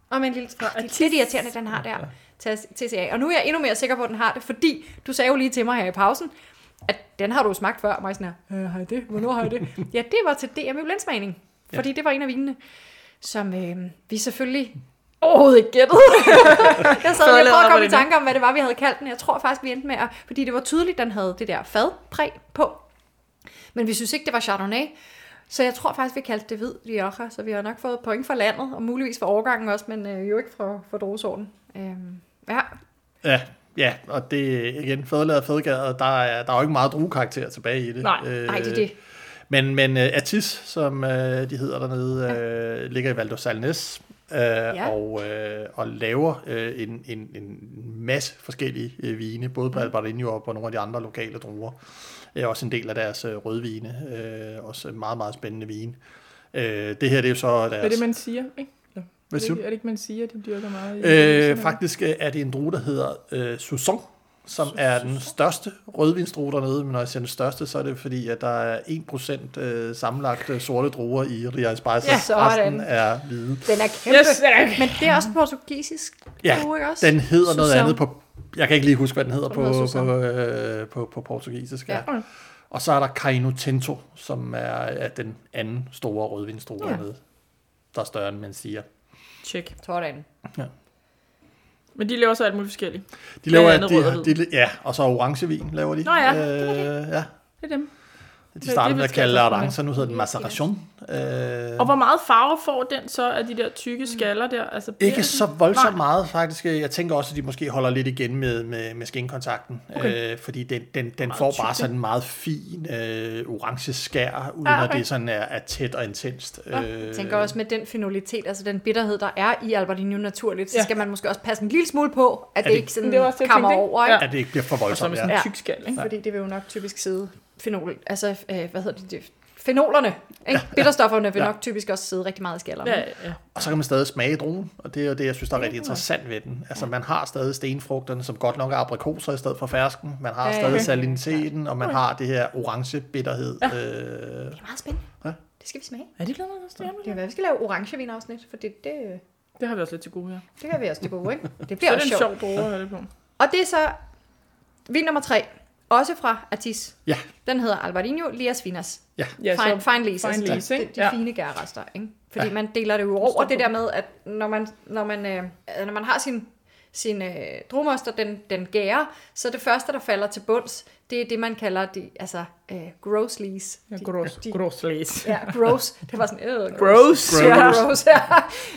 Og med en lille... Ah, det er lidt irriterende, den har der til- TCA. Og nu er jeg endnu mere sikker på, at den har det, fordi du sagde jo lige til mig her i pausen, at den har du jo smagt før. Og mig sådan her, "Øh, har jeg det? Hvornår har jeg det? ja, det var til DM i blindsmagning, fordi det var en af vinene, som øh, vi selvfølgelig overhovedet ikke gættede. jeg sad lige og prøvede Fadlaget at komme i Albertino. tanke om, hvad det var, vi havde kaldt den. Jeg tror faktisk, vi endte med at... Fordi det var tydeligt, den havde det der fadpræg på. Men vi synes ikke, det var Chardonnay. Så jeg tror faktisk, vi kaldte det hvid Rioja, så vi har nok fået point fra landet, og muligvis fra årgangen også, men øh, jo ikke fra, fra druesorten. Øhm, ja, Ja, ja, og det er igen fædrelæret fædregade, der er, der er jo ikke meget druekarakter tilbage i det. Nej, øh, nej, det er det. Men, men uh, Atis, som uh, de hedder dernede, ja. uh, ligger i Valdo Salnes uh, ja. og, uh, og laver uh, en, en, en masse forskellige uh, vine, både Mm. på Albarino og på nogle af de andre lokale druer. Uh, også en del af deres uh, rødvine, uh, også meget, meget spændende vin. Uh, det her det er jo så Hvad er deres... det, man siger, ikke? Nå, Hvad er, siger det, du? ikke- er det ikke, man siger, de dyrker meget? i- Øh, i- faktisk øh, er det en drue, der hedder øh, Sauzon, som er den største rødvinsdrue dernede. Men når jeg siger den største, så er det fordi, at der er 1% øh, sammenlagt øh, sorte druer i Ria Spicer. Ja, sådan. Resten er hvide. den er kæmpe. Yes, den er- Men det er også portugisisk. Ja, drue, ikke også? Den hedder Sauzon. noget Sauzon. andet på... Jeg kan ikke lige huske, hvad den hedder den hedder på, Sauzon. på, øh, på, på portugisisk. Ja. Ja. Okay. Og så er der Caino Tinto, som er, er den anden store rødvinsdrue Ja. ja. dernede. Der er større, end man siger. Check. Sådan. Men de laver så alt muligt forskelligt. De laver, Blandt andet rød og de, hvid. de, ja, og så orangevin laver de. Nå ja, det var øh, ja. Det er dem. De startede det med at vil jeg kalde altså orange, så nu hedder den maceration. Øh, Og hvor meget farve får den så af de der tykke Mm. skaller der? Altså, bliver ikke den- så voldsomt Nej. meget, faktisk. Jeg tænker også, at de måske holder lidt igen med, med, med skinkontakten, Okay. okay. øh, fordi den, den, den Meget får tyk, bare ikke? sådan en meget fin øh, orange skær, uden Ah, ah, okay. okay. at det sådan er, er tæt og intenst. Øh, jeg Jeg tænker også med den fenolitet, altså den bitterhed, der er i Albertino naturligt, så Ja. skal man måske også passe en lille smule på, at det, det- ikke sådan Det var også det, jeg kammer tænkte, ikke? over. Ikke? Ja. at det ikke bliver for Og så med voldsomt. sådan Ja. en Ja. tyk skal, ikke? Fordi det vil jo nok typisk sidde fenol, altså øh, hvad hedder det, det, fenolerne, ikke? bitterstofferne vil Ja. nok typisk også sidde rigtig meget i skallerne. Ja, ja. Og så kan man stadig smage druen, og det er jo det, jeg synes, der er Mm. rigtig interessant ved den. Altså, man har stadig stenfrugterne, som godt nok er aprikoser i stedet for fersken. Man har Ja, stadig ja. saliniteten, og man har det her orange bitterhed. Øh, Det er meget spændende. Ja. Det skal vi smage. Er det glæder mig også, det Det kan være, vi skal lave orangevin-afsnit, for det, det, Det har vi også lidt til gode her. det kan vi også det gode, ikke? Det Så bliver er det også en sjovt. sjov droge at have det på. Og det er så vin nummer tre, også fra Artis. ja, Den hedder Alvarinho Lias Finas. ja. Ja, fine, så fine lease, fine fine lease, lease de, ikke? de Ja. ja. fine gærrester, ikke? Fordi ja. man deler det jo over det der med, at når man, når man, øh, øh, når man har sin, sin øh, drumoster, den, den gærer, så det første, der falder til bunds, det er det, man kalder de, altså, øh, gross lease. ja, De- gross, de- gross læs. Ja, gross. Det var sådan, øh, gross. Gross, Ja, ja. gross,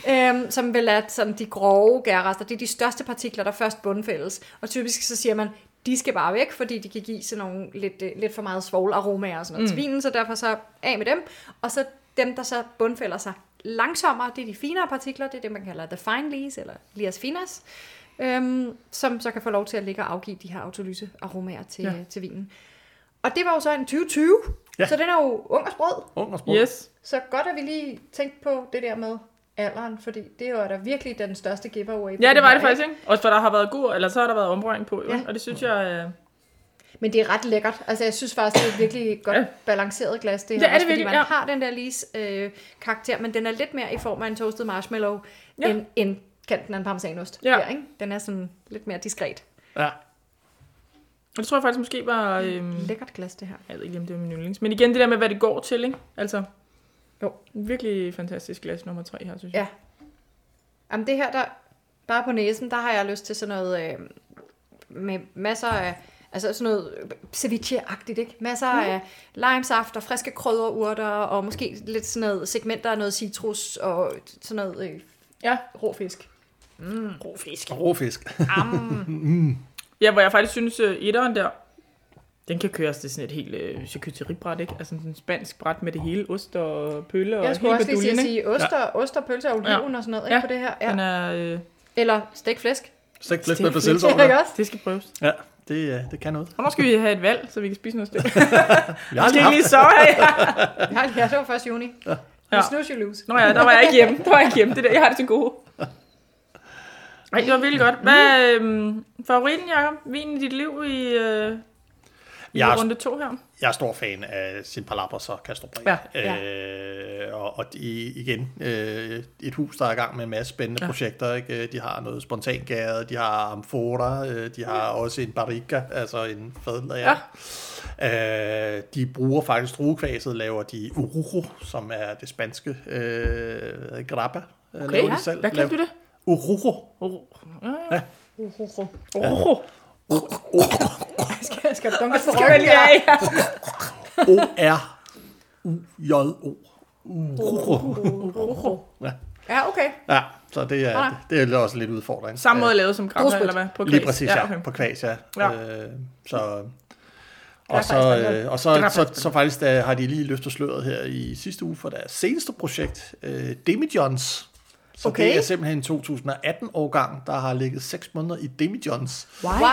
ja. Øhm, som vel er sådan, de grove gærrester. Det er de største partikler, der først bundfældes. Og typisk så siger man, de skal bare væk, fordi de kan give sådan nogle lidt, øh, lidt for meget svovlaromaer og sådan noget mm. til vinen, så derfor så af med dem. Og så dem, der så bundfælder sig langsommere, det er de finere partikler, det er det, man kalder the fine lees, eller lias finas, øhm, som så kan få lov til at ligge og afgive de her autolyse aromaer til, Ja. ja. til vinen. Og det var jo så en 2020, ja. Ja. så den er jo ung og sprød. Ung og sprog. Yes. Så godt, at vi lige tænkte på det der med alderen, fordi det var da virkelig den største giveaway. på Ja, den det var her, det faktisk, ikke? Også for der har været god, eller så har der været omrøring på, jo. Ja. Og det synes jeg... Øh... ikke? Men det er ret lækkert. Altså, jeg synes faktisk, det er et virkelig godt Ja. balanceret glas, det her. Det er det også, virkelig, fordi man ja. har den der lease øh, karakter, men den er lidt mere i form af en toasted marshmallow, Ja. ja. end, end kanten af en parmesanost. Ja. Der, ikke? Den er sådan lidt mere diskret. Ja. Og det tror jeg faktisk måske var... Øhm, Lækkert glas, det her. jeg ved ikke, lige, om det var min yndlings. Men igen, det der med, hvad det går til, ikke? Altså, Jo. Virkelig fantastisk glas nummer tre her, synes jeg. Ja. Jamen det her, der bare på næsen, der har jeg lyst til sådan noget øh, med masser af, altså sådan noget ceviche-agtigt, ikke? Masser mm. af limesaft og friske krydderurter og måske lidt sådan noget segmenter af noget citrus og sådan noget øh, Ja. rå fisk. God fisk. Og råfisk. Ja, hvor jeg faktisk synes, øh, etteren der, den kan køres til sådan et helt øh, charcuteriebræt, ikke? Altså sådan en spansk bræt med det hele, ost og pølle og Jeg skulle hele også lige sige, baduljen, sige ost, og, ost og pølse og oliven og sådan noget, ikke? Ja. På det her. ikke? Den Ja. er, øh, Eller stegt flæsk. Stik Stik flæsk med med Det er ikke persillesovne. også? det skal prøves. Ja, det, øh, det kan noget. Hvornår skal vi have et valg, så vi kan spise noget stik? Jeg har Skal aldrig ikke haft, lige sove her? Ja, ja, det var først juni. Ja. Ja. Ja. Snus, you lose. Nå ja, der var jeg ikke hjemme. Der var jeg ikke hjemme. Det der, jeg har det til gode. Ej, det var virkelig godt. Hvad er øhm, favoritten, Jacob? Vinen i dit liv i, øh, i Jeg er- runde to her? jeg er stor fan af sin palabras og Castro Ja. Ja. Øh, og, og de, igen, øh, et hus, der er i gang med en masse spændende Ja. ja. projekter. Ikke? Øh, De har noget spontangade, de har amfora, øh, de har Mm. også en barrica, altså en fadlager. Ja. Øh, de bruger faktisk druekvaset, laver de urujo, som er det spanske øh, grappa. Okay, laver ja. de selv. Hvad kaldte du det? Urujo. Oh. Uhuhu. Oh. Skal, skal du dunke på Skal man ryggen lige der? af? O-R. U-J-O. Uro. Ja. Ja, okay. ja, så det er, Nej. det er også lidt udfordring. Ah. Samme Øh, måde lavet som kram, Druspyt. eller hvad? På Lige kvæs. præcis, ja. Okay. På kvæs, ja. Ja. Øh, så, er og så, faktisk øh, og så, er så, faktisk så faktisk der har de lige løftet sløret her i sidste uge for deres seneste projekt, øh, Demijohns. Så okay. Okay. det er simpelthen en 2018-årgang, der har ligget 6 måneder i Demijohns. Wow. wow.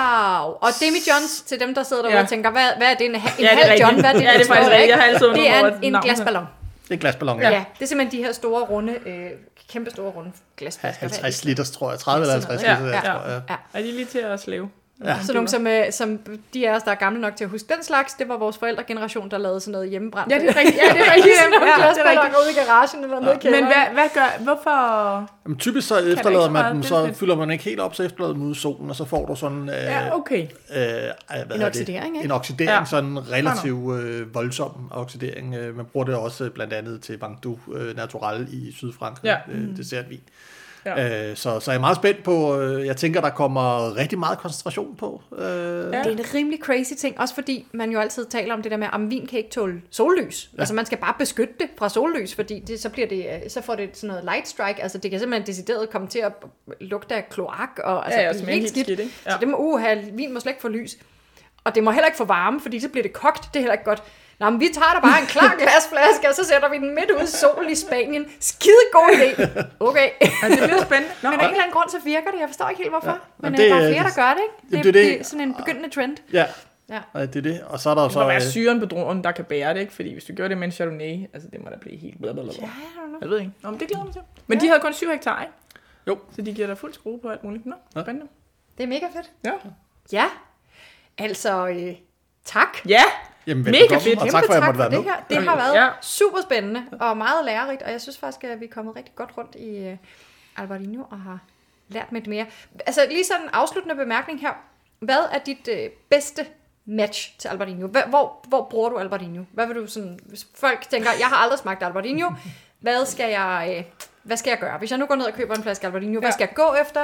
Og Demi Johns, til dem, der sidder derude Ja. og tænker, hvad, hvad er det, en, ha- en Ja, det er halv rigtigt. John? Hvad er det, Ja, det er forstår faktisk jeg rigtigt. ikke. Jeg har altid undret Det mig over er en, en navnet. glasballon. Det er en glasballon, Ja. ja. ja. det er simpelthen de her store, runde, øh, kæmpe store, runde glasflasker. 50 liters, tror jeg. 30 eller 50 Ja, liters, ja. ja. tror jeg. Er de lige til at slæve? Ja. Så nogle, som, øh, som de af os, der er gamle nok til at huske den slags, det var vores forældregeneration, der lavede sådan noget hjemmebrændt. Ja, det er rigtigt. Ja, det er rigtigt. Sådan nogle Ja, det er glasballoner ude i garagen eller noget. i Men kælderen. hvad, hvad gør... Hvorfor... Jamen, typisk så ikke efterlader så meget. man dem, Det er så lidt- fylder man ikke helt op, så efterlader man dem ude i solen, og så får du sådan... Øh, Ja, okay. Øh, hvad hedder oxidering, det? ikke? En oxidering, Ja. ja. sådan relativt øh, voldsom oxidering. Øh, Man bruger det også øh, blandt andet til Bangdu øh, Natural i Sydfrankrig, Ja. ja. øh, dessertvin. Ja. Ja. Øh, så, så jeg er meget spændt på, øh, jeg tænker, der kommer rigtig meget koncentration på. Øh, Ja. ja. Det er en rimelig crazy ting, også fordi man jo altid taler om det der med, at vin kan ikke tåle sollys. Ja. Altså man skal bare beskytte det fra sollys, fordi det, så, bliver det, øh, så får det sådan noget light strike. Altså det kan simpelthen decideret komme til at lugte af kloak og altså, ja, blive smage helt skidt, ikke? Ja. Så det må uha, vin må slet ikke få lys. Og det må heller ikke få varme, fordi så bliver det kogt. Det er heller ikke godt. Nå, men vi tager da bare en klar glasflaske, og så sætter vi den midt ude i solen i Spanien. Skide god idé. Okay. Ja, det bliver spændende. Nå, Men af en eller anden grund, så virker det. Jeg forstår ikke helt, hvorfor. Ja. Men Jamen, det, det der er er- flere, der gør det, ikke? Det, det, Jamen, det er det, det. det er sådan en begyndende trend. ja. Ja. Øh, det er det. Og så er der jo Det må så... være Øh, syren på dronen, der kan bære det, ikke? Fordi hvis du gjorde det med en Chardonnay, altså det må da blive helt blablabla. Ja. Jeg ved ikke. Nå, men det glæder jeg mig til. Men de havde kun 7 hektar, ikke? Jo. Så de giver dig fuld skrue på alt muligt. Nå, Ja. spændende. Det er mega fedt. Ja. Ja. Altså, øh, tak. Ja! jamen, Mega velbekomme, fedt. og Kæmpe tak for, at jeg måtte være det med. her. Det har været Ja. ja. super spændende og meget lærerigt, og jeg synes faktisk, at vi er kommet rigtig godt rundt i øh, Albertino og har lært lidt mere. Altså lige sådan en afsluttende bemærkning her. Hvad er dit øh, bedste match til Albertino? Hvor, hvor, hvor bruger du Albertino? Hvad vil du sådan, hvis folk tænker, jeg har aldrig smagt Albertino, hvad skal jeg, øh, hvad skal jeg gøre? Hvis jeg nu går ned og køber en flaske Albertino, ja. hvad Ja. skal jeg gå efter?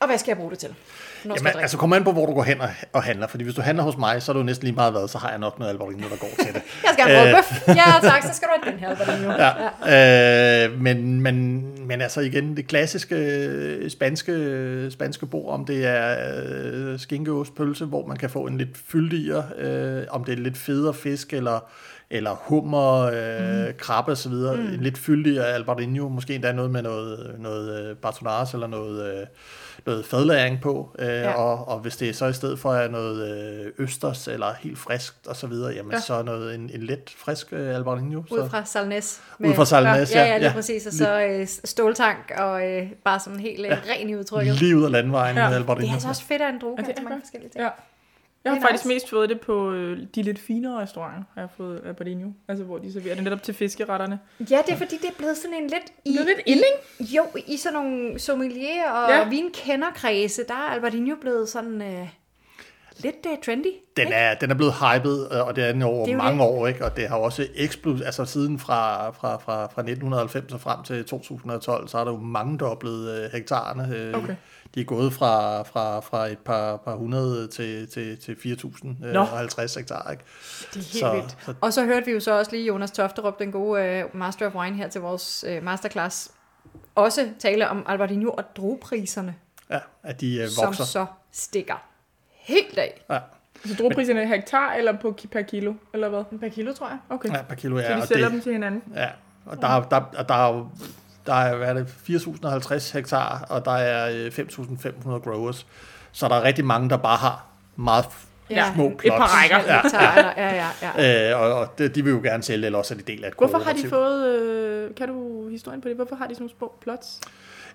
Og hvad skal jeg bruge det til? Når Jamen, skal jeg Jamen, drikke? altså kom an på, hvor du går hen og, og handler. Fordi hvis du handler hos mig, så er du næsten lige meget hvad, så har jeg nok noget alvorligt, der går til det. Jeg skal have en øh, rød bøf. Ja, tak. Så skal du have den her Albertino. Ja. ja. øh, men, men, men altså igen, det klassiske øh, spanske, øh, spanske bord, om det er øh, skinkeost, pølse, hvor man kan få en lidt fyldigere, øh, om det er lidt federe fisk, eller, eller hummer, øh, mm. krabbe osv., mm. en lidt fyldigere albarino, måske endda noget med noget, noget øh, bartonaras eller noget... Øh, noget fadlæring på, øh, ja. og, og hvis det er så i stedet for er noget øh, østers eller helt friskt og så videre, jamen Ja. ja. så er noget en, en let frisk øh, albarino. så. Ud fra Salnes. Ud fra Salnes, ja. ja, Ja, ja, lige ja. præcis. Og så øh, ståltank og øh, bare sådan helt øh, ren i udtrykket. Lige ud af landvejen Ja. ja. med Albert Det er Inger. altså også fedt at en droge, det kan er så mange godt. forskellige ting. ja. Jeg har Det er faktisk nice. mest fået det på øh, de lidt finere restauranter, har jeg fået af Bardinho. Altså, hvor de serverer det netop til fiskeretterne. Ja, det er fordi, det er blevet sådan en lidt... I, Det er lidt illing. Jo, i sådan nogle sommelier og Ja. ja. vinkenderkredse, der er Albertinho blevet sådan øh, lidt øh, trendy. Den er, den er blevet hypet, øh, og det er den over Det er jo mange år, ikke? og det har jo også eksploderet, altså siden fra, fra, fra, fra 1990 og frem til 2012, så har der jo mangedoblet øh, hektarerne. Øh, Okay. De er gået fra, fra, fra et par, par hundrede til, til, til 4.050 øh, Nå. og 50 hektar. Ikke? Det er helt Så- vildt. Og så hørte vi jo så også lige Jonas Tofterup, den gode øh, Master of Wine her til vores øh, masterclass, også tale om Albertinho og drogpriserne, Ja, at de øh, som vokser. så stikker helt af. Ja, Så druepriserne er hektar eller på ki- per kilo, eller hvad? Per kilo, tror jeg. Okay. ja, per kilo. Ja, Så de og sælger det- dem til hinanden. Ja, og der, er- der, og der er jo der er, hvad er det, 4.050 hektar, og der er øh, 5.500 growers. Så der er rigtig mange, der bare har meget f- Ja. små Et plots. par rækker. Ja, ja, ja, ja, ja. Øh, og, og de, de vil jo gerne sælge, eller også er de del af et Hvorfor har de kooperativ. fået... Øh, kan du historien på det? Hvorfor har de sådan nogle små plots?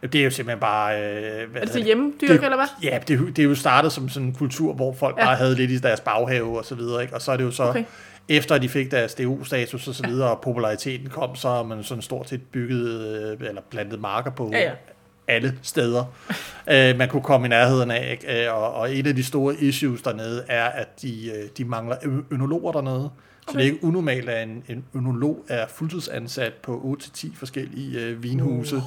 Jamen, Det er jo simpelthen bare... Øh, hvad Altså, hedder Er det til det? hjemmedyrk, Det- eller hvad? Ja, det, er jo- det er jo startet som sådan en kultur, hvor folk Ja. ja. bare havde lidt i deres baghave og så videre, ikke? og så er det jo så, Okay. okay. efter de fik deres DU-status og så videre, og populariteten kom, så har man sådan stort set bygget, øh, eller plantet marker på Ja, ja. alle steder, øh, man kunne komme i nærheden af, ikke? Øh, og, og et af de store issues dernede er, at de, øh, de mangler ø- ønologer dernede, så det er ikke unormalt, at en, en ønolog er fuldtidsansat på 8-10 forskellige øh, vinhuse,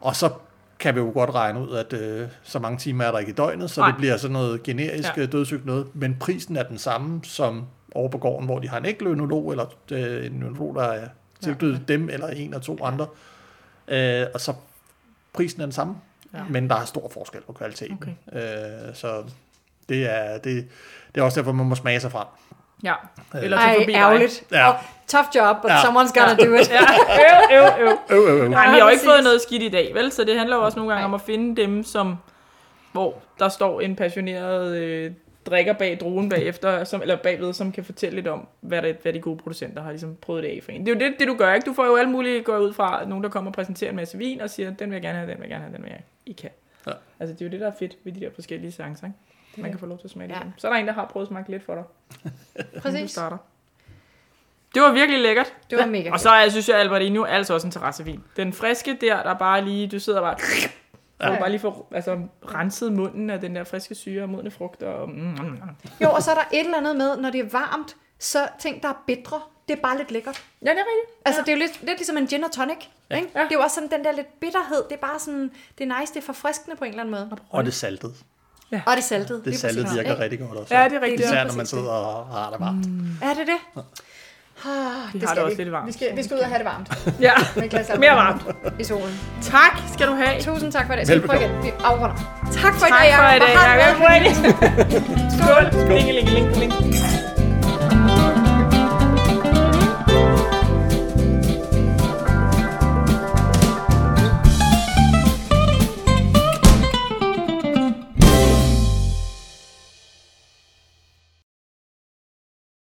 og så kan vi jo godt regne ud, at øh, så mange timer er der ikke i døgnet, så Nej. Nej. det bliver sådan noget generisk Ja. ja. dødssygt noget. Men prisen er den samme som over på gården, hvor de har en æggelønolog, eller øh, en ønolog, der er tilknyttet ja. dem, eller en af to andre. Øh, og så prisen er den samme, ja. men der er stor forskel på kvaliteten. Okay. Øh, så det er, det, det er også derfor, man må smage sig frem. Ja. Eller Ej, tage forbi dig. ærgerligt. Ja. Ja. Oh, tough job, but Ja. someone's gonna do it. Ja, øv, øv, øv. Øv, øv, øv. Nej, men vi har Ja, jo ikke præcis. fået noget skidt i dag, vel? Så det handler jo også nogle gange Nej. om at finde dem, som, hvor der står en passioneret øh, drikker bag druen bagefter, som, eller bagved, som kan fortælle lidt om, hvad, det, hvad de gode producenter har ligesom prøvet det af for en. Det er jo det, det, du gør, ikke? Du får jo alle mulige, går jeg ud fra, nogen der kommer og præsenterer en masse vin og siger, den vil jeg gerne have, den vil jeg gerne have, den vil jeg ikke have. Ja. Altså, det er jo det, der er fedt ved de der forskellige seancer, ikke? Man kan få lov til at smage Ja. ja. Så er der en, der har prøvet at smage lidt for dig, inden du Præcis. starter. Det var virkelig lækkert. Det var mega Og så er, synes jeg, Albertino er altså også en terrassevin. Den friske der, der bare lige, du sidder bare... Ja. Du bare lige får altså, renset munden af den der friske syre og modne frugt. Og, mm, mm, mm. Jo, og så er der et eller andet med, når det er varmt, så ting, der er bedre, det er bare lidt lækkert. Ja, det er rigtigt. Altså, ja. det er jo lidt, lidt ligesom en gin og tonic. Ja. Ikke? Ja. Det er jo også sådan den der lidt bitterhed. Det er bare sådan, det er nice, det er forfriskende på en eller anden måde. Og det saltede. Og det er saltet. Det saltede virker rigtig godt også. Ja, det er rigtigt. Især præcis når man sidder og har det varmt. Er det det? Ah, Vi har det også lidt varmt. Vi skal, vi skal ud og have det varmt. Ja. Med glas Mere varmt. I solen. Tak skal du have. Tusind tak for i dag. Skal vi prøve Velbekomme. igen? Vi afrunder. Tak for i Tak dag, for i Jacob. dag, Hvor har det Jacob. været hyggeligt. Skål. Skål. Skål. Skål. Skål.